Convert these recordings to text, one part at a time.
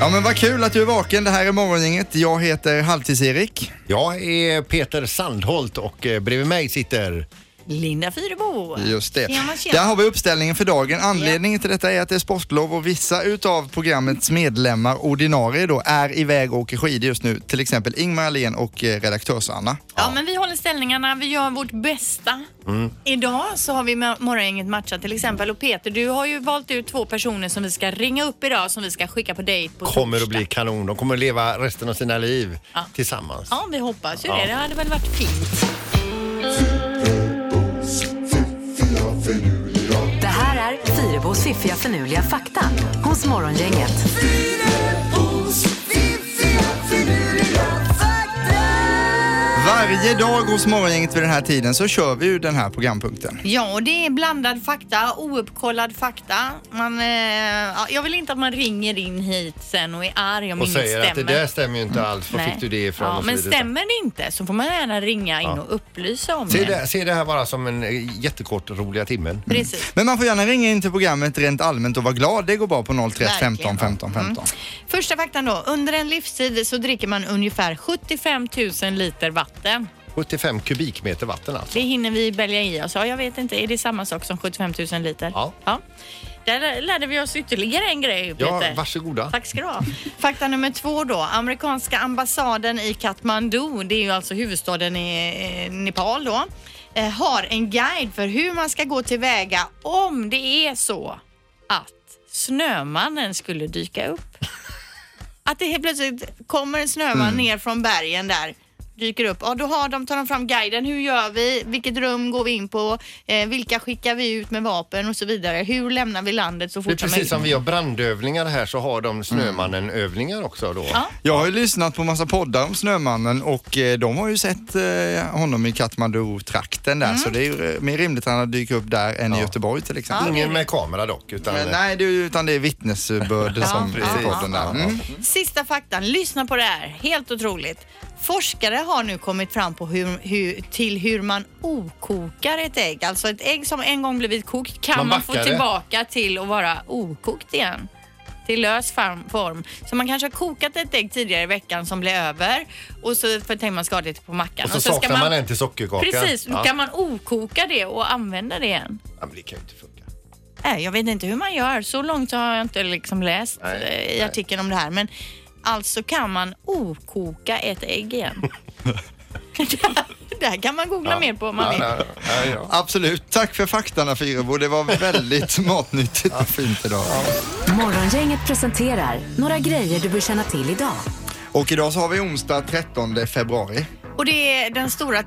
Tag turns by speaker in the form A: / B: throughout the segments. A: Ja men vad kul att du är vaken. Det här är Morgongänget. Jag heter Halvtids-Erik.
B: Jag är Peter Sandholt och eh, bredvid mig sitter...
C: Linda Fyrebo.
A: Just det.
C: Tjena, tjena.
A: Där har vi uppställningen för dagen. Anledningen till detta är att det är sportlov och vissa utav programmets medlemmar, ordinarie då, är iväg och åker skidor just nu. Till exempel Ingmar Ahlén och eh, redaktörs-Anna.
C: Ja, men vi håller ställningarna. Vi gör vårt bästa.
B: Mm.
C: Idag så har vi med Morgongänget matchat till exempel. Och Peter, du har ju valt ut två personer som vi ska ringa upp idag som vi ska skicka på dejt på
B: Kommer
C: torsdag.
B: att bli kanon. De kommer att leva resten av sina liv
C: Ja.
B: tillsammans.
C: Ja, vi hoppas ju
B: Ja.
C: det. Det hade väl varit fint.
D: Det här är Fyrabos fiffiga förnuliga fakta hos Morgongänget.
A: Varje dag hos Morgongänget vid den här tiden så kör vi ju den här programpunkten.
C: Ja, och det är blandad fakta, ouppkollad fakta. Man, eh, ja, jag vill inte att man ringer in hit sen och är arg om
B: Och
C: inget
B: säger
C: stämmer.
B: att det där stämmer ju inte alls. Var
C: Nej.
B: fick du det ifrån?
C: Ja,
B: och så
C: men
B: vidare.
C: stämmer det inte så får man gärna ringa in och upplysa om
B: Se
C: det.
B: det, se det här bara som en eh, jättekort roliga timmen.
C: Precis.
A: Men man får gärna ringa in till programmet rent allmänt och vara glad. Det går bra på 031 15
C: Verkligen. Mm.
A: 15 15.
C: Första faktan då. Under en livstid så dricker man ungefär 75 000 liter vatten.
B: 75 kubikmeter vatten alltså.
C: Det hinner vi bälja i oss. Ja, jag vet inte, är det samma sak som 75 000 liter?
B: Ja.
C: Där lärde vi oss ytterligare en grej,
B: Ja,
C: Peter.
B: varsågoda.
C: Tack ska du ha. Fakta nummer två då. Amerikanska ambassaden i Kathmandu, det är ju alltså huvudstaden i eh, Nepal då, eh, har en guide för hur man ska gå tillväga om det är så att snömannen skulle dyka upp. Att det helt plötsligt kommer en snöman
B: Mm.
C: ner från bergen där dyker upp. Ja, då har de, tar de fram guiden. Hur gör vi? Vilket rum går vi in på? Eh, vilka skickar vi ut med vapen och så vidare? Hur lämnar vi landet så
B: Det är
C: fort som
B: precis
C: möjligt?
B: som vi har brandövningar här så har de Snömannen-övningar också då.
C: Mm. Ja.
A: Jag har ju lyssnat på massa poddar om Snömannen och eh, de har ju sett eh, honom i Katmandu-trakten där så det är ju eh, mer rimligt att han dyker upp där än i Göteborg till exempel.
B: Ingen med kamera dock. Utan, eh,
A: Men, nej, det är, ju- utan det är vittnesbörd som
C: precis.
A: är podden där. Mm.
C: Sista faktan, lyssna på det här. Helt otroligt. Forskare har nu kommit fram på hur, hur, till hur man okokar ett ägg. Alltså ett ägg som en gång blivit kokt kan
B: Man
C: man,
B: backar
C: få
B: det.
C: tillbaka till att vara okokt igen. Till lös form- form. Så man kanske har kokat ett ägg tidigare i veckan som blir över och så förtänker man skadligt på mackan.
B: och så, saknar man en till sockerkaka.
C: Precis, då
B: Ja.
C: kan man okoka det och använda det igen.
B: Ja, men det kan ju inte funka.
C: Nej, jag vet inte hur man gör. Så långt har jag inte liksom läst
B: Nej,
C: eh, i
B: nej.
C: artikeln om det här. Men alltså kan man okoka ett ägg igen. det här kan man googla mer på om man vill.
B: Ja, ja, ja.
A: Absolut. Tack för faktarna Fyrebo. Det var väldigt matnyttigt och fint idag.
D: Morgongänget presenterar några grejer du bör känna till idag.
A: Och idag så har vi onsdag 13 februari.
C: Och det är den stora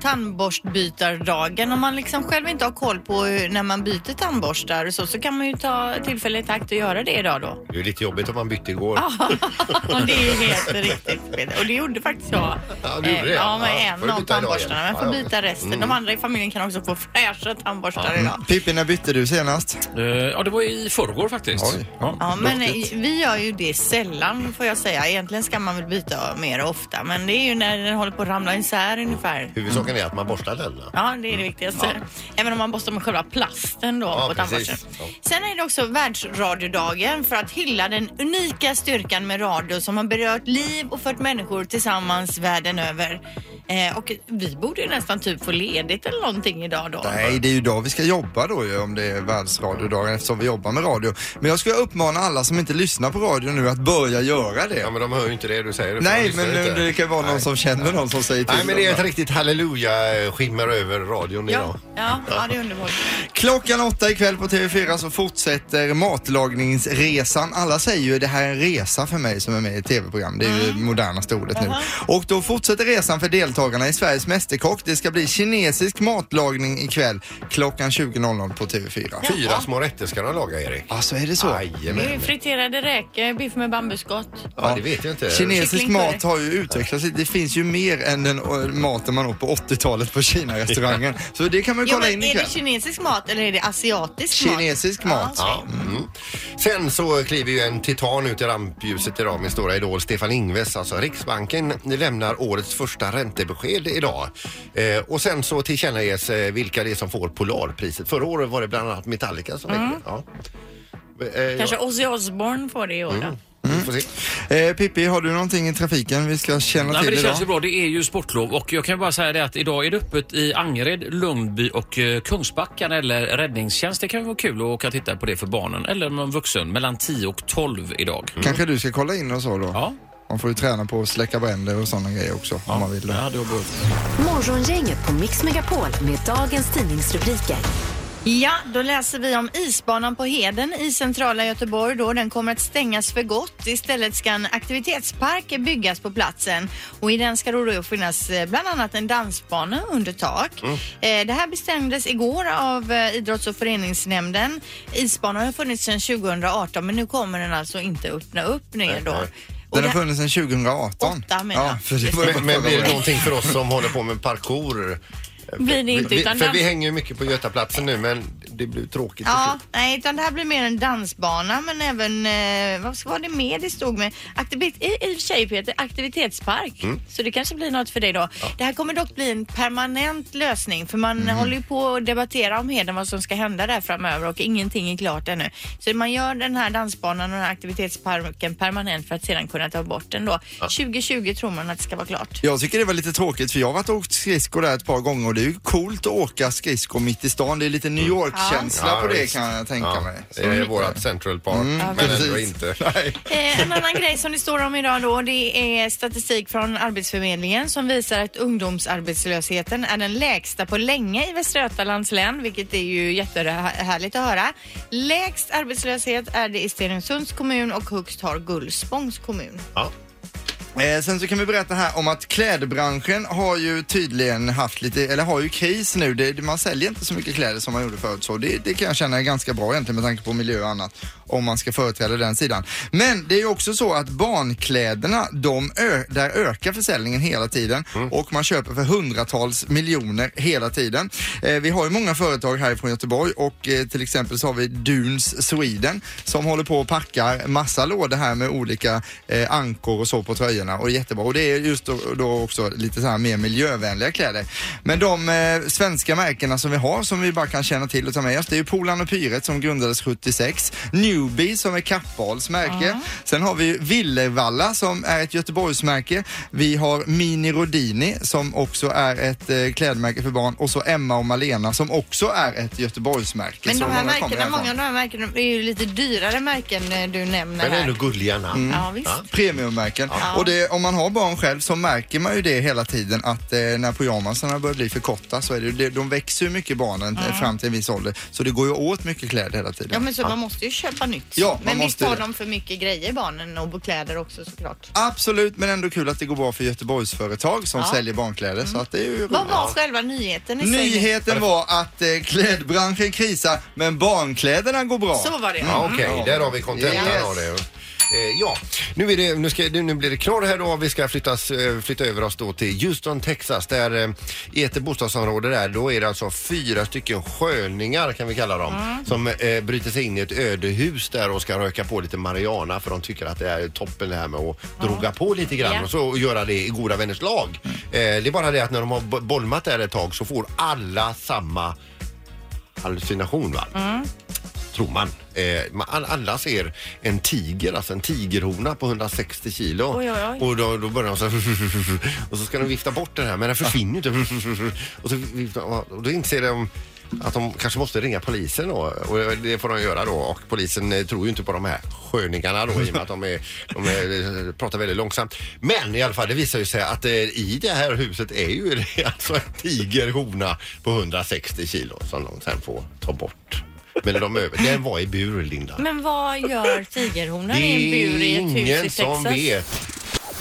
C: tandborstbytardagen. Om man liksom själv inte har koll på hur- när man byter tandborstar och så, så kan man ju ta tillfället i akt och göra det idag då.
B: Det är lite jobbigt om man bytte igår.
C: Ah. Och det är ju helt riktigt. Peter. Och det gjorde faktiskt jag.
B: Ja, du gjorde
C: Eh,
B: det.
C: Ja, men
B: Ja, får
C: en
B: du
C: av
B: byta idag
C: tandborstarna.
B: igen?
C: Men jag får
B: Ja, Mm. ja.
C: byta resten. De andra i familjen kan också få fräscha tandborstar idag.
A: Pippi, när bytte du senast?
E: Eh, Ja, det var i förrgår faktiskt.
A: Oj.
E: Ja.
C: Ja, men vi gör ju det sällan får jag säga. Egentligen ska man väl byta mer ofta, men det är ju när den håller på att ramla isär ungefär.
B: Huvudsaken är att man borstar tänderna.
C: Ja, det är det viktigaste. Även om man borstar med själva plasten då
B: Ja,
C: på tandborsten.
B: precis. Ja.
C: Sen är det också världsradiodagen för att hylla den unika styrkan med radio som har berört liv och fört människor tillsammans världen över. Eh, och vi borde ju nästan typ få ledigt eller någonting idag då.
A: Nej, det är ju idag vi ska jobba då ju om det är världsradiodagen eftersom vi jobbar med radio. Men jag skulle uppmana alla som inte lyssnar på radio nu att börja göra det.
B: Ja, men de hör ju inte det du säger. för de
A: Nej,
B: lyssnar
A: men
B: ju inte.
A: det kan vara någon
B: Nej.
A: som känner någon som säger till
B: Nej, men det är
A: dem.
B: ett riktigt halleluja-skimmer över radion
C: Ja,
B: idag.
C: ja, ja, det är underbart.
A: Klockan åtta ikväll på TV4 så fortsätter matlagningsresan. Alla säger ju det här är en resa för mig som är med i tv-program. Det är
C: Ah.
A: ju det modernaste ordet nu. Och då fortsätter resan för deltagarna i Sveriges Mästerkock. Det ska bli kinesisk matlagning ikväll klockan 20.00 på TV4.
B: Fyra små rätter ska de laga, Erik.
A: Alltså är det så?
C: Ah. Det är
B: Jajamän.
C: ju friterade räkor, biff med bambuskott.
B: Ja, det vet jag inte.
A: Kinesisk
C: Kycklingkorv.
A: mat har ju utvecklats. Det finns ju mer än den ö, maten man åt på 80-talet på Kina-restaurangen. Så det kan man ju
C: Ja,
A: kolla
C: men
A: in
C: är
A: ikväll.
C: det kinesisk mat eller är det asiatisk
A: Kinesisk mat.
B: Ja. Mm. Sen så kliver ju en titan ut i rampljuset idag, min stora idol Stefan Ingves. Alltså Riksbanken lämnar årets första räntebesked idag. Eh, och sen så tillkännages eh, vilka det är som får Polarpriset. Förra året
C: Mm.
B: var det bland annat Metallica som fick det. Ja. Eh,
A: Mm.
C: mat? Kanske Ozzy Osbourne får det i år då.
B: Vi får se.
A: Eh, Pippi, har du någonting i trafiken vi ska känna
E: Nej, men
A: till
E: det
A: idag?
E: känns ju bra. Det är ju sportlov och jag kan bara säga det att idag är det öppet i Angered, Lundby och eh, Kungsbacka när det gäller räddningstjänst. Det kan vara kul att åka och titta på det för barnen eller någon vuxen mellan 10 och 12 idag.
A: Kanske du ska kolla in och så då?
E: Ja.
A: Man får ju träna på att släcka bränder och sådana grejer också om man vill.
E: Ja, det var bra.
D: Morgongänget på Mix Megapol med dagens tidningsrubriker.
C: Ja, då läser vi om isbanan på Heden i centrala Göteborg då. Den kommer att stängas för gott. Istället ska en aktivitetspark byggas på platsen och i den ska då då finnas eh, bland annat en dansbana under tak.
A: Mm.
C: Eh, Det här bestämdes igår av eh, idrotts och föreningsnämnden. Isbanan har funnits sedan 2018 men nu kommer den alltså inte öppna upp ner då.
A: Den
C: Och det
A: har
C: här-
A: funnits sedan 2018.
C: Åtta menar
A: ja,
C: jag.
A: för det var
B: Men, men blir det
A: förra året.
B: någonting för oss som håller på med parkour?
C: blir det
B: Vi,
C: inte
B: vi,
C: utan
B: för vi
C: dans-
B: hänger ju mycket på Götaplatsen nu men det blir tråkigt till
C: Ja,
B: slut.
C: nej, utan det här blir mer en dansbana men även, eh, vad var det mer det stod med? Aktivit i, I och för sig Peter, aktivitetspark. Så det kanske blir något för dig då. Det här kommer dock bli en permanent lösning för man håller ju på att debattera om Heden vad som ska hända där framöver och ingenting är klart ännu. Så man gör den här dansbanan och den här aktivitetsparken permanent för att sedan kunna ta bort den då. 2020 tror man att det ska vara klart.
A: Jag tycker det var lite tråkigt för jag har varit och åkt skridskor där ett par gånger och det är ju coolt att åka skridskor mitt i stan. Det är lite
E: Mm.
A: New York-känsla
B: Ja,
A: på det
B: visst.
A: kan jag tänka mig. Mm.
B: Ja, det
C: Mm.
B: är vårat Central Park men ändå
A: precis.
B: inte.
C: Eh, en annan grej som det står om idag då, det är statistik från Arbetsförmedlingen som visar att ungdomsarbetslösheten är den lägsta på länge i Västra Götalands län, vilket är ju jättehärligt att höra. Lägst arbetslöshet är det i Stenungsunds kommun och högst har Gullspångs kommun.
B: Ja.
A: Eh, sen så kan vi berätta här om att klädbranschen har ju tydligen haft lite, eller har ju kris nu. Det, det- man säljer inte så mycket kläder som man gjorde förut så det, det kan jag känna är ganska bra egentligen med tanke på miljö och annat om man ska företräda den sidan. Men det är ju också så att barnkläderna, de ö, där ökar försäljningen hela tiden och man köper för hundratals miljoner hela tiden. Eh, vi har ju många företag härifrån Göteborg och eh, till exempel så har vi Dunes Sweden som håller på och packar massa lådor här med olika eh, ankor och så på tröjorna och det är jättebra. Och det är just då, då också lite så här mer miljövänliga kläder. Men de eh, svenska märkena som vi har som vi bara kan känna till och ta med oss det är ju Polan och Pyret som grundades 76, Newbie som är Kappahls märke. Sen har vi ju Villervalla som är ett Göteborgsmärke. Vi har Mini Rodini som också är ett eh, klädmärke för barn och så Emma och Malena som också är ett Göteborgsmärke.
C: Men
A: Så
C: de här
A: många kommer
C: märkena,
A: härifrån.
C: många av de här märkena är ju lite dyrare märken eh, du nämner
B: Men
C: här.
B: ändå gulliga namn.
C: Ja, visst.
A: Premiummärken. Och det, om man har barn själv så märker man ju det hela tiden att eh, när pyjamasarna börjar bli för korta så är det, ju- det, de växer ju mycket barnen eh, fram till en viss ålder. Så det går ju åt mycket kläder hela tiden.
C: Ja men så man måste ju köpa nytt.
A: Ja, man
C: men visst
A: måste
C: har
A: det.
C: de för mycket grejer barnen och kläder också såklart.
A: Absolut, men ändå kul att det går bra för Göteborgsföretag som
C: Ja.
A: säljer barnkläder. Så att det är ju roligt.
C: Vad var själva nyheten i sig?
A: Nyheten var att eh, klädbranschen krisar, men barnkläderna går bra.
C: Så var det.
B: Ja, Okej, där har vi kontentan
A: Yes.
B: av det. Eh, Ja, nu, är det, nu, ska, nu, nu blir det knorr här då. Vi ska flyttas, eh, flytta över oss då till Houston, Texas. Där, eh, I ett bostadsområde där, då är det alltså fyra stycken sköningar kan vi kalla dem. Som eh, bryter sig in i ett ödehus där och ska röka på lite marijuana för de tycker att det är toppen det här med att droga på lite grann
C: Ja.
B: och så göra det i goda vänners lag. Eh, det är bara det att när de har bo- bolmat där ett tag så får alla samma hallucination. Va? tror man. Eh, man all- alla ser en tiger, alltså en tigerhona på 160 kilo.
C: Oj, oj, oj.
B: Och då, då börjar de så här, och så ska de vifta bort den här men den försvinner inte. och, så viftar, och då inser de att de kanske måste ringa polisen då. Och det får de göra då. Och polisen eh, tror ju inte på de här sköningarna då i och med att de, är, de är, pratar väldigt långsamt. Men i alla fall, det visar ju sig att eh, i det här huset är ju det alltså en tigerhona på 160 kilo som de sen får ta bort. Men de över. Den var i bur, Linda.
C: Men vad gör tigerhonan
B: Det
C: i en bur i
B: är
C: ett hus i
B: ingen
C: Texas?
B: som vet.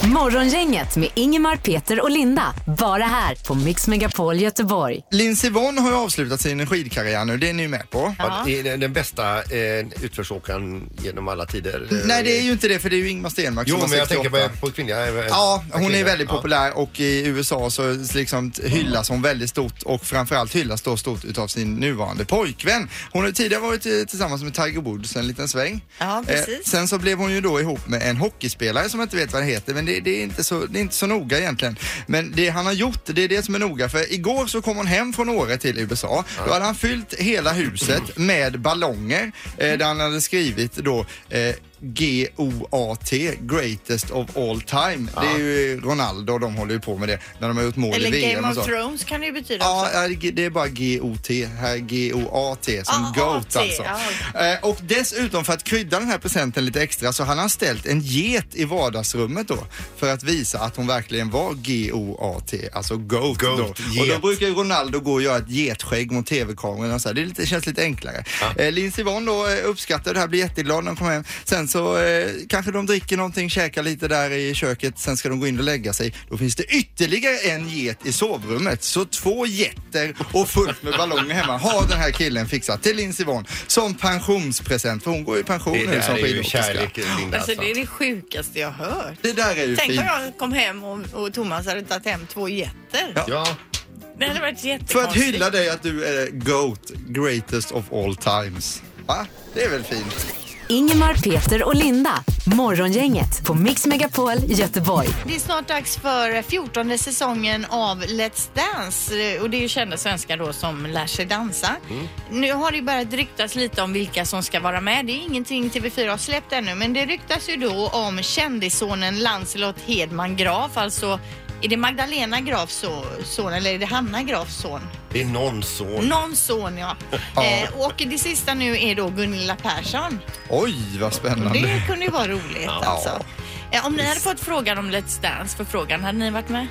D: Morgongänget med Ingemar, Peter och Linda. Bara här på Mix Megapol Göteborg.
A: Lindsey Vonn har ju avslutat sin skidkarriär nu, det är ni med på.
B: Ja. det är den- den bästa eh, utförsåkaren genom alla tider.
A: Nej, det är ju inte det för det är ju Ingmar Stenmark
B: Jo,
A: som har
B: men jag
A: 68.
B: tänker på, på kvinnliga. eh,
A: Ja, hon är
B: kvinnor.
A: väldigt
B: Ja.
A: populär och i USA så liksom t- hyllas hon väldigt stort och framförallt hyllas då stort utav sin nuvarande pojkvän. Hon har ju tidigare varit eh, tillsammans med Tiger Woods en liten sväng. Eh,
C: Ja, precis.
A: sen så blev hon ju då ihop med en hockeyspelare som jag inte vet vad det heter men det, det, är inte så, det är inte så noga egentligen. Men det han har gjort, det är det som är noga för igår så kom hon hem från Åre till USA. Då hade han fyllt hela huset med ballonger eh, där han hade skrivit då eh, G-O-A-T, greatest of all time. Det är ju Ronaldo och de håller ju på med det när de har gjort mål
C: Eller
A: i VM
C: Game
A: och
C: of
A: så.
C: Thrones kan det ju betyda
A: alltså. Ja,
C: också.
A: ja, det- det är bara G-O-T, här G-O-A-T som
C: Ah,
A: GOAT
C: A-T,
A: alltså. Eh, Och dessutom för att krydda den här presenten lite extra så han har ställt en get i vardagsrummet då för att visa att hon verkligen var G-O-A-T, alltså GOAT. då.
B: Goat,
A: Och då
B: get.
A: brukar ju Ronaldo gå och göra ett getskägg mot TV-kamerorna och så här. Det är lite, känns lite enklare. Eh, Linn Sivon då eh, uppskattar det här, blir jätteglad när de kommer hem. Sen så eh, kanske de dricker någonting, käkar lite där i köket, sen ska de gå in och lägga sig. Då finns det ytterligare en get i sovrummet. Så två getter och fullt med ballonger hemma har den här killen fixat till Linn Sivon som pensionspresent. För hon går i pension nu
B: Det där
A: som
B: är ju
A: skidåkerska.
B: kärlek, Linda.
C: Alltså
B: Alltså,
C: det är det sjukaste jag har hört.
A: Det där är ju
C: Tänk
A: fint.
C: om jag kom hem och, och Thomas hade tagit hem två getter.
B: Ja,
C: Det hade varit
A: För att
C: jättekonstigt.
A: hylla dig att du är GOAT, greatest of all times. Va? Det är väl fint?
D: Ingemar, Peter och Linda. Morgongänget på Mix Megapol Göteborg.
C: Det är snart dags för 14 säsongen av Let's Dance Eh, och det är ju kända svenskar då som lär sig dansa. Nu har det ju börjat ryktas lite om vilka som ska vara med. Det är ingenting TV4 har släppt ännu men det ryktas ju då om kändissonen Lancelot Hedman Graf, alltså är det Magdalena Grafs so- son eller är det Hanna Grafs son?
B: det är någon son.
C: Någon son ja. Eh, och det sista nu är då Gunilla Persson.
A: Oj, vad spännande.
C: Det kunde ju vara roligt alltså. Eh, Om ni hade fått frågan om Let's Dance för frågan, hade ni varit med?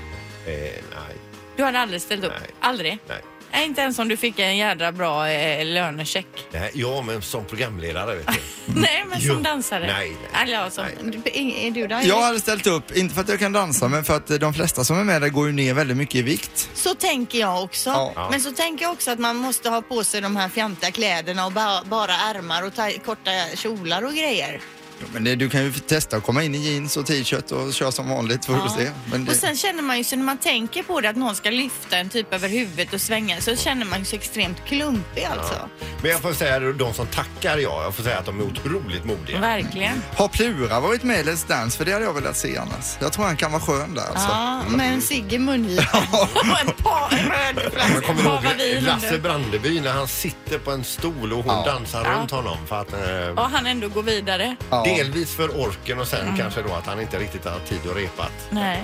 B: Eh, nej,
C: Du hade aldrig ställt upp?
B: Nej.
C: Aldrig?
B: nej.
C: Nej, inte ens om du fick en jädra bra eh, lönecheck.
B: Nej, ja, men som programledare vet du.
C: Nej, men som
B: Jo.
C: dansare.
B: Nej, nej.
C: Eller ja, som,
B: Nej.
C: Du, är, är du där?
A: Jag hade ställt upp, inte för att jag kan dansa men för att eh, de flesta som är med där går ju ner väldigt mycket i vikt.
C: Så tänker jag också.
A: Ja.
C: Men så tänker jag också att man måste ha på sig de här fjantiga kläderna och bara, bara ärmar och ta, korta kjolar och grejer.
A: Jo, Men det, du kan ju testa att komma in i jeans och t-shirt och köra som vanligt får du se. Men det,
C: Och sen känner man ju så när man tänker på det att någon ska lyfta en typ över huvudet och svänga så känner man ju sig extremt klumpig alltså.
B: Men jag får säga de som tackar ja, jag får säga att de är otroligt modiga.
C: Verkligen.
A: Har Plura varit med i Let's Dance? För det hade jag velat se annars. Jag tror han kan vara skön där alltså.
C: Ja, med en cigg i mungipan och en pa- en röd
B: Jag kommer
C: flaska
B: ihåg
C: Havavi i
B: Lasse
C: handen.
B: Brandeby när han sitter på en stol och hon
A: Ja.
B: dansar
C: Ja.
B: runt honom för att eh,
C: Och han ändå går vidare.
A: Ja.
B: Delvis för orken och
C: Mm.
B: sen kanske då att han inte riktigt har tid att repat.
C: Nej.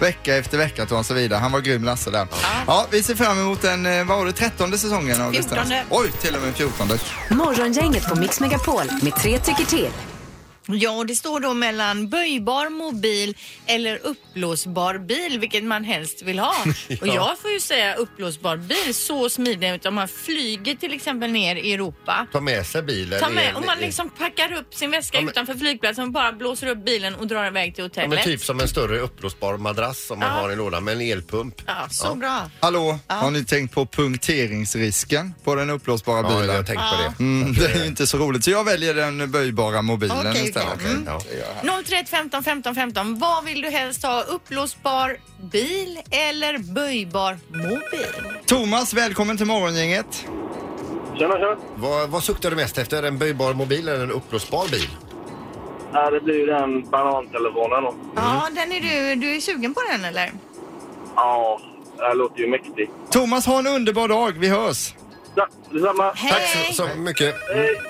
A: Vecka efter vecka tog han sig vidare. Han var grym Lasse där. Ja, vi ser fram emot den, eh, vad var det, trettonde säsongen av Let's Dance?
C: Fjortonde.
A: Oj, till och med fjortonde.
D: Morgongänget på Mix Megapol med tre tycker till.
C: Ja, och det står då mellan böjbar mobil eller uppblåsbar bil, vilket man helst vill ha. Och jag får ju säga uppblåsbar bil, så smidig ut om man flyger till exempel ner i Europa.
B: Ta med sig bilen.
C: Ta
B: i
C: med,
B: en-
C: om man liksom packar upp sin väska
B: Ja, men-
C: utanför flygplatsen och bara blåser upp bilen och drar iväg till
B: Ja,
C: hotellet.
B: men typ som en större uppblåsbar madrass som man
C: Ja.
B: har i lådan med en elpump.
C: Ja, så bra.
A: Hallå, har ni tänkt på punkteringsrisken på den uppblåsbara
B: Ja,
A: bilen?
B: jag har tänkt på det. eh,
A: Mm, det är ju inte så roligt, så jag väljer den böjbara mobilen
C: Okej,
A: istället.
C: okej. Mm.
B: Ja.
C: 031 15 15 15. Vad vill du helst ha? Uppblåsbar bil eller böjbar mobil?
A: Thomas, välkommen till Morgongänget.
F: Tjena, tjena.
B: Vad, vad suktar du mest efter? En böjbar mobil eller en uppblåsbar bil?
F: Ja, det blir ju den banantelefonen då.
C: Ja, den är du, du är sugen på den eller?
F: Ja, det här låter ju mäktigt.
A: Thomas, ha en underbar dag. Vi hörs.
F: Ja, detsamma.
B: Tack så, så mycket.
F: Hej!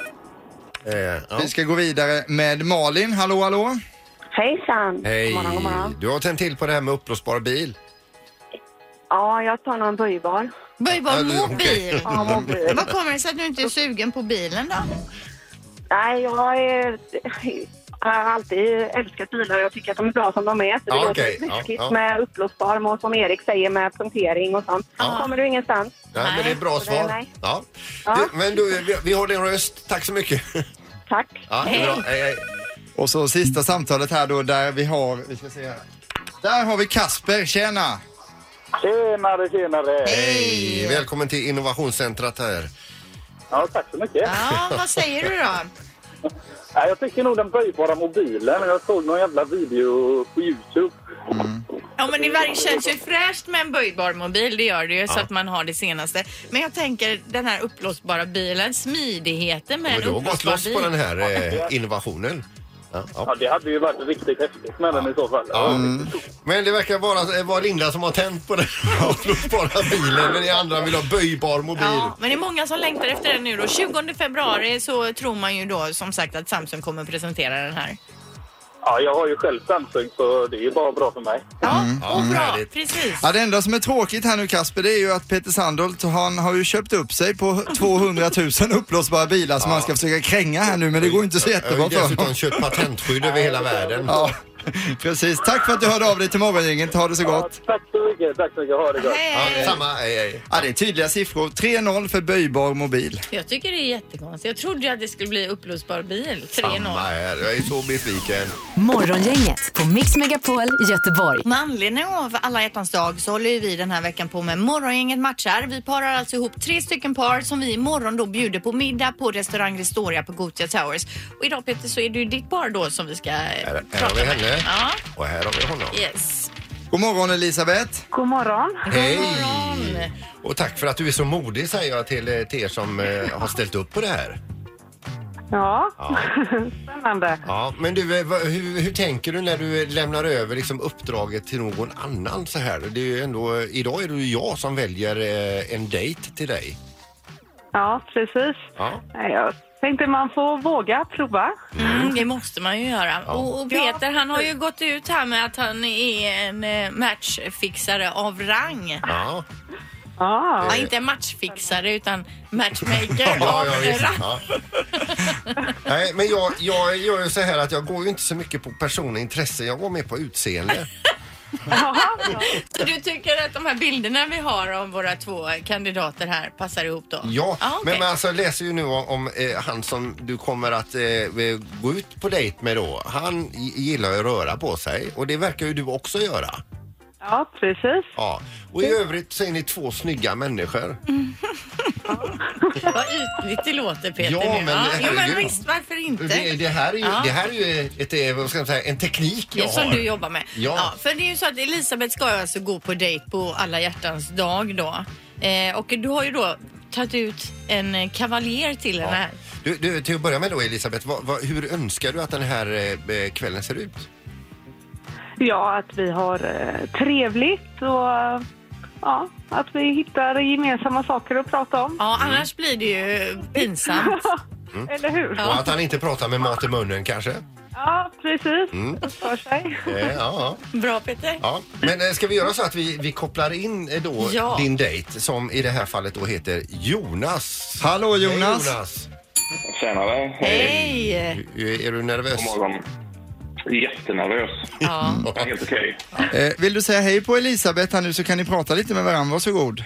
B: Eh, ja.
A: Vi ska gå vidare med Malin. Hallå, hallå.
G: Hejsan!
B: Hej.
G: God morgon, god morgon.
B: Du har tänt till på det här med uppblåsbar bil.
G: Ja, jag tar någon böjbar.
C: Böjbar
B: Ja, det-
C: mobil.
G: Ja, mobil.
C: Vad kommer det sig att du inte är sugen på bilen då?
G: Nej, jag är... Jag har alltid älskat bilar och jag tycker att de är bra som de är. Så det
B: Ja,
G: låter
B: okej. Ja,
G: läskigt
B: ja.
G: med upplåsbar och som Erik säger med punktering och sånt. Då kommer du ingenstans.
B: Nej, men det är bra
G: Nej,
B: svar.
G: nej.
B: Ja.
G: Ja.
B: Du, men du, vi, vi har din röst. Tack så mycket.
G: Tack!
B: Ja, det är bra. Hej, hej.
A: Och så sista samtalet här då där vi har... Vi ska se här. Där har vi Kasper. Tjena!
F: Tjenare, tjenare!
B: Hej. Välkommen till innovationscentrat här.
F: Ja, tack så mycket.
C: Ja, vad säger du då?
F: Ja, jag tycker nog den böjbara mobilen. Jag såg någon jävla video på Youtube.
C: Ja, men det var- känns ju fräscht med en böjbar mobil, det gör det ju, så att man har det senaste. Men jag tänker den här uppblåsbara bilen, smidigheten med
B: Men
C: en
B: du har gått
C: uppblåsbar
B: loss
C: bil.
B: på den här eh, innovationen. Ja,
F: Ja,
B: ja.
F: det hade ju varit riktigt häftigt med den i så fall.
B: Ja.
F: Mm.
B: Men det verkar bara eh, vara Linda som har tänt på det och bara bilen men ni andra vill ha böjbar mobil.
C: Ja, men det är många som längtar efter den nu då. 20 februari så tror man ju då som sagt att Samsung kommer presentera den här.
F: Ja, jag har ju själv Samsung så det är ju bara bra för mig.
C: Ja, och bra.
B: Mm. härligt.
C: Precis.
A: Ja, det enda som är tråkigt här nu Kasper, det är ju att Peter Sandholt, han har ju köpt upp sig på 200 000 uppblåsbara bilar som han ska försöka kränga här nu, men det går ju inte så
B: Jag har ju
A: jättebra för
B: dessutom
A: honom.
B: köpt patentskydd över hela världen.
A: Ja, precis. Tack för att du hörde av dig till Morgongänget. Ha det så
F: Ja,
A: gott.
F: tack så mycket, tack så mycket. Ha det gott.
B: Ja,
C: Hej.
B: samma, eh, hej, hej.
A: Ja, det är tydliga siffror. 3-0 för böjbar mobil.
C: Jag tycker det är jättekonstigt. Jag trodde ju att det skulle bli upplösbar bil. 3-0.
B: Samma här. Jag är så besviken.
D: Morgongänget på Mix Megapol Göteborg.
C: Med anledning av alla hjärtans dag så håller ju vi den här veckan på med Morgongänget matchar. Vi parar alltså ihop tre stycken par som vi imorgon då bjuder på middag på restaurang Restoria på Gothia Towers. Och idag Peter så är det ju ditt par då som vi ska eh,
B: Här, här har
C: prata
B: vi
C: med.
B: henne
C: Ja,
B: och här har vi honom.
C: yes.
A: God morgon Elisabeth.
G: God morgon.
B: Hej! Och tack för att du är så modig säger jag till, eh, till er som eh, har ställt upp på det här.
G: Ja,
B: Ja.
G: spännande.
B: Ja, men du, eh, vad- hur, hur tänker du när du eh, lämnar över liksom uppdraget till någon annan så här? Det är ju ändå, eh, idag är det ju jag som väljer eh, en dejt till dig.
G: Ja, precis.
B: Ja.
G: Nej, Jag tänkte man får våga prova.
C: Mm, det måste man ju göra. Och, och Peter han har ju gått ut här med att han är en eh, matchfixare av rang.
B: Ja,
G: Ja,
C: Ja, inte en matchfixare utan matchmaker
B: ja,
C: av
B: ja, visst.
C: rang.
B: ja. Nej, men jag, jag gör ju så här att jag går ju inte så mycket på personlig intresse, jag går mer på utseende.
C: Så du tycker att de här bilderna vi har om våra två kandidater här passar ihop då?
B: Ja,
C: Ah, okej.
B: men, men alltså jag läser ju nu om, om eh, han som du kommer att eh, gå ut på dejt med då. Han g- gillar ju att röra på sig och det verkar ju du också göra.
G: ja precis.
B: Ja. Och i
C: Mm.
B: övrigt så är ni två snygga människor.
C: Vad ytligt det låter Peter
B: eh, Ja,
C: nu.
B: men
C: ja. Jo, men
B: herregud.
C: visst, varför inte?
B: Det, det, här är ju,
C: Ja.
B: det här är ju ett, eh, vad ska jag säga, en teknik jag
C: som
B: har.
C: du jobbar med.
B: Ja.
C: för det är ju så att Elisabeth ska ju alltså gå på dejt på alla hjärtans dag då. Eh, och du har ju då tagit ut en eh, kavaljer till henne här.
B: Du, du, till att börja med då Elisabeth, vad, vad, hur önskar du att den här eh, eh, kvällen ser ut?
G: Ja, att vi har eh, trevligt och eh, ja, att vi hittar gemensamma saker att prata om.
C: Ja, annars blir det ju pinsamt.
G: Eller hur?
C: Ja.
B: Och att han inte pratar med mat i munnen kanske?
G: Ja, precis. För sig.
B: Eh, ja, ja.
C: Bra Peter.
B: Ja, men eh, ska vi göra så att vi, vi kopplar in eh, då
C: Ja.
B: din dejt som i det här fallet då heter Jonas.
A: Hallå
B: Hej,
A: Jonas.
B: Jonas.
H: Tjenare!
C: Hej!
B: Är, är du nervös?
H: God morgon. Jättenervös.
C: Ja.
H: Helt okej.
A: Eh, vill du säga hej på Elisabeth här nu så kan ni prata lite med varandra. Varsågod.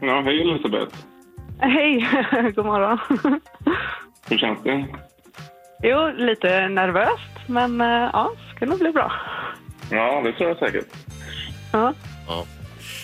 H: Ja, hej Elisabeth.
G: Hej, god morgon.
H: Hur känns det?
G: Jo, lite nervöst, men eh, ja, ska nog bli bra.
H: Ja, det tror jag säkert.
G: Ja.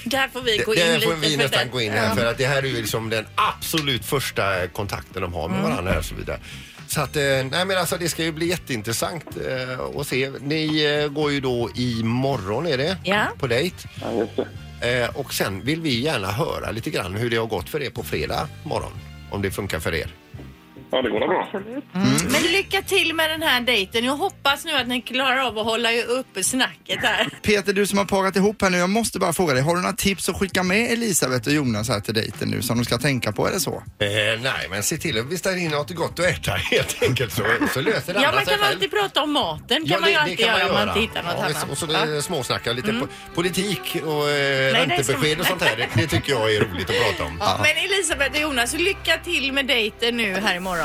C: Där får vi
B: Det,
C: gå in
B: det
C: lite.
B: får vi
C: för
B: nästan
C: det-
B: gå in här för att det här är ju liksom den absolut första eh, kontakten de har med
C: Mm.
B: varandra här och så vidare. Så att, eh, nej men alltså det ska ju bli jätteintressant eh, att se. Ni eh, går ju då imorgon är det?
C: Ja.
B: På dejt.
H: Ja, just det.
B: Eh, och sen vill vi gärna höra lite grann hur det har gått för er på fredag morgon. Om det funkar för er.
H: Ja, det går bra.
B: Mm.
C: Men lycka till med den här dejten. Jag hoppas nu att ni klarar av att hålla ju uppe snacket här.
A: Peter, du som har parat ihop här nu, jag måste bara fråga dig. Har du några tips att skicka med Elisabeth och Jonas här till dejten nu som de ska tänka på? Är det så?
B: Eh, nej, men se till att beställa in något gott att äta helt enkelt så, så löser det
C: Ja,
B: andra
C: man
B: sig
C: kan alltid prata om maten. kan
B: Ja,
C: man ju
B: det- det
C: alltid
B: kan
C: göra om man
B: göra.
C: inte hittar något
B: ja,
C: hemma.
B: Och så
C: Ja. Mm.
B: det småsnacka lite po- politik och eh,
C: Nej, det ska man-
B: räntebesked och sånt här. Det, det tycker jag är roligt att prata om.
C: Ja, men Elisabeth och Jonas, lycka till med dejten nu här imorgon.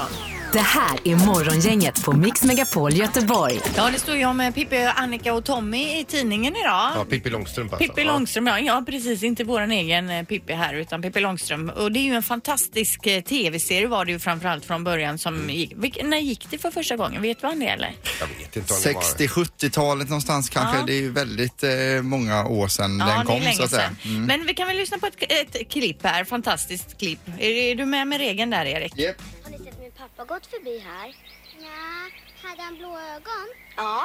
D: Det här är Morgongänget på Mix Megapol Göteborg.
C: Ja, det står jag med Pippi, Annika och Tommy i tidningen idag.
B: Ja, Pippi Långstrump alltså.
C: Pippi Långström, ja, ja precis. Inte våran egen eh, Pippi här utan Pippi Långström. Och det är ju en fantastisk eh, tv-serie var det ju framförallt från början som
B: Mm.
C: gick. Vilk, när gick det för första gången? Vet du vad det eller?
B: Ja, jag vet inte om det var-
A: 60-70-talet någonstans kanske.
C: Ja.
A: Det är ju väldigt eh, många år sedan
C: ja,
A: den
C: det är
A: kom
C: länge
A: så att säga. Mm.
C: sedan. Men vi kan väl lyssna på ett, ett klipp här. Fantastiskt klipp. Är, är du med med regeln där Erik?
A: Japp.
I: Har ni sett min pappa gått förbi här? Nej, hade han blå ögon? Ja.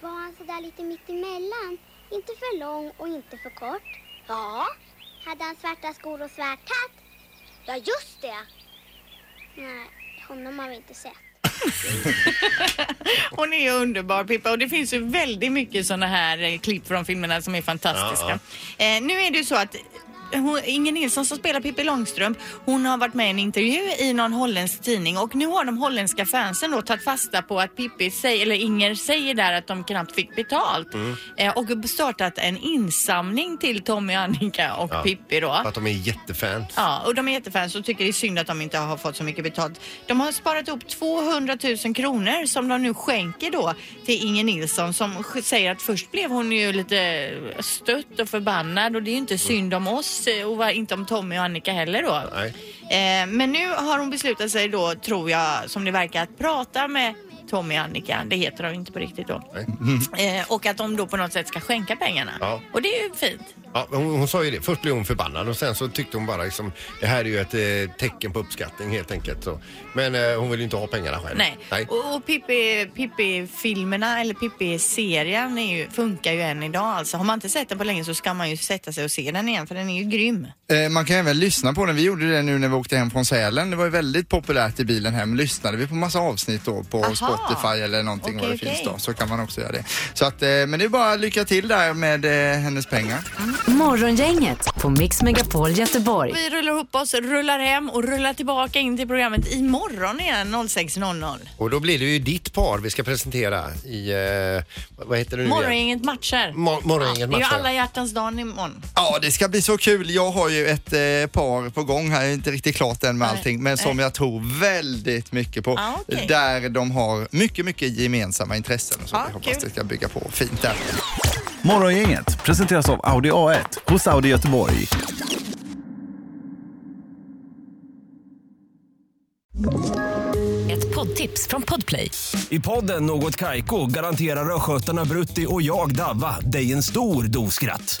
I: Var han sådär lite mittemellan? Inte för lång och inte för kort? Ja. Hade han svarta skor och svart hatt? Ja, just det. Nej, honom har vi inte sett.
C: Hon är ju underbar Pippa och det finns ju väldigt mycket sådana här eh, klipp från filmerna som är fantastiska. Eh, nu är det ju så att hon, Inger Nilsson som spelar Pippi Långstrump, hon har varit med i en intervju i någon holländsk tidning och nu har de holländska fansen då tagit fasta på att Pippi säger, eller Inger säger där att de knappt fick betalt
A: Mm.
C: eh, och startat en insamling till Tommy, Annika och
B: Ja.
C: Pippi då.
B: För att de är jättefans.
C: Ja, och de är jättefans och tycker det är synd att de inte har fått så mycket betalt. De har sparat upp 200 000 kronor som de nu skänker då till Inger Nilsson som sk- säger att först blev hon ju lite stött och förbannad och det är ju inte synd om oss eh, och va- inte om Tommy och Annika heller då.
B: Nej.
C: Eh, Men nu har hon beslutat sig då, tror jag, som det verkar, att prata med Tommy och Annika, det heter de inte på riktigt då.
B: Nej.
C: Eh, och att de då på något sätt ska skänka pengarna.
B: Ja.
C: Och det är ju fint.
B: Ja, hon, hon sa ju det. Först blev hon förbannad och sen så tyckte hon bara liksom, det här är ju ett eh, tecken på uppskattning helt enkelt. Så. Men eh, hon vill ju inte ha pengarna själv.
C: Nej.
B: Nej.
C: Och, och Pippi- Pippi-filmerna eller Pippi-serien är ju, funkar ju än idag. Alltså, har man inte sett den på länge så ska man ju sätta sig och se den igen för den är ju grym.
A: Eh, Man kan även lyssna på den. Vi gjorde det nu när vi åkte hem från Sälen. Det var ju väldigt populärt i bilen hem. Lyssnade vi på massa avsnitt då på
C: Aha.
A: Spotify eller någonting
C: Okej,
A: vad det
C: okej.
A: finns då. Så kan man också göra det. Så att, eh, men det är bara lycka till där med eh, hennes pengar.
D: Morgongänget på Mix Megapol Göteborg.
C: Vi rullar ihop oss, rullar hem och rullar tillbaka in till programmet imorgon igen 06.00.
B: Och då blir det ju ditt par vi ska presentera i, eh, vad- vad heter det nu igen?
C: Morgongänget matcher.
B: Mor- Morgongänget
C: Det är ju
B: matcher.
C: alla hjärtans dag imorgon.
A: Ja, det ska bli så kul. Jag har ju ett eh, par på gång här, inte riktigt klart än med
C: Nej.
A: allting, men som jag tror väldigt mycket på.
C: Ah, okej.
A: Där de har mycket, mycket gemensamma intressen. och Så
C: Ah,
A: vi hoppas
C: kul.
A: det ska bygga på fint där.
J: Morgongänget presenteras av Audi A1 hos Audi Göteborg.
D: Ett poddtips från Podplay.
J: I podden Något Kaiko garanterar östgötarna Brutti och jag, Davva, dig en stor dos skratt.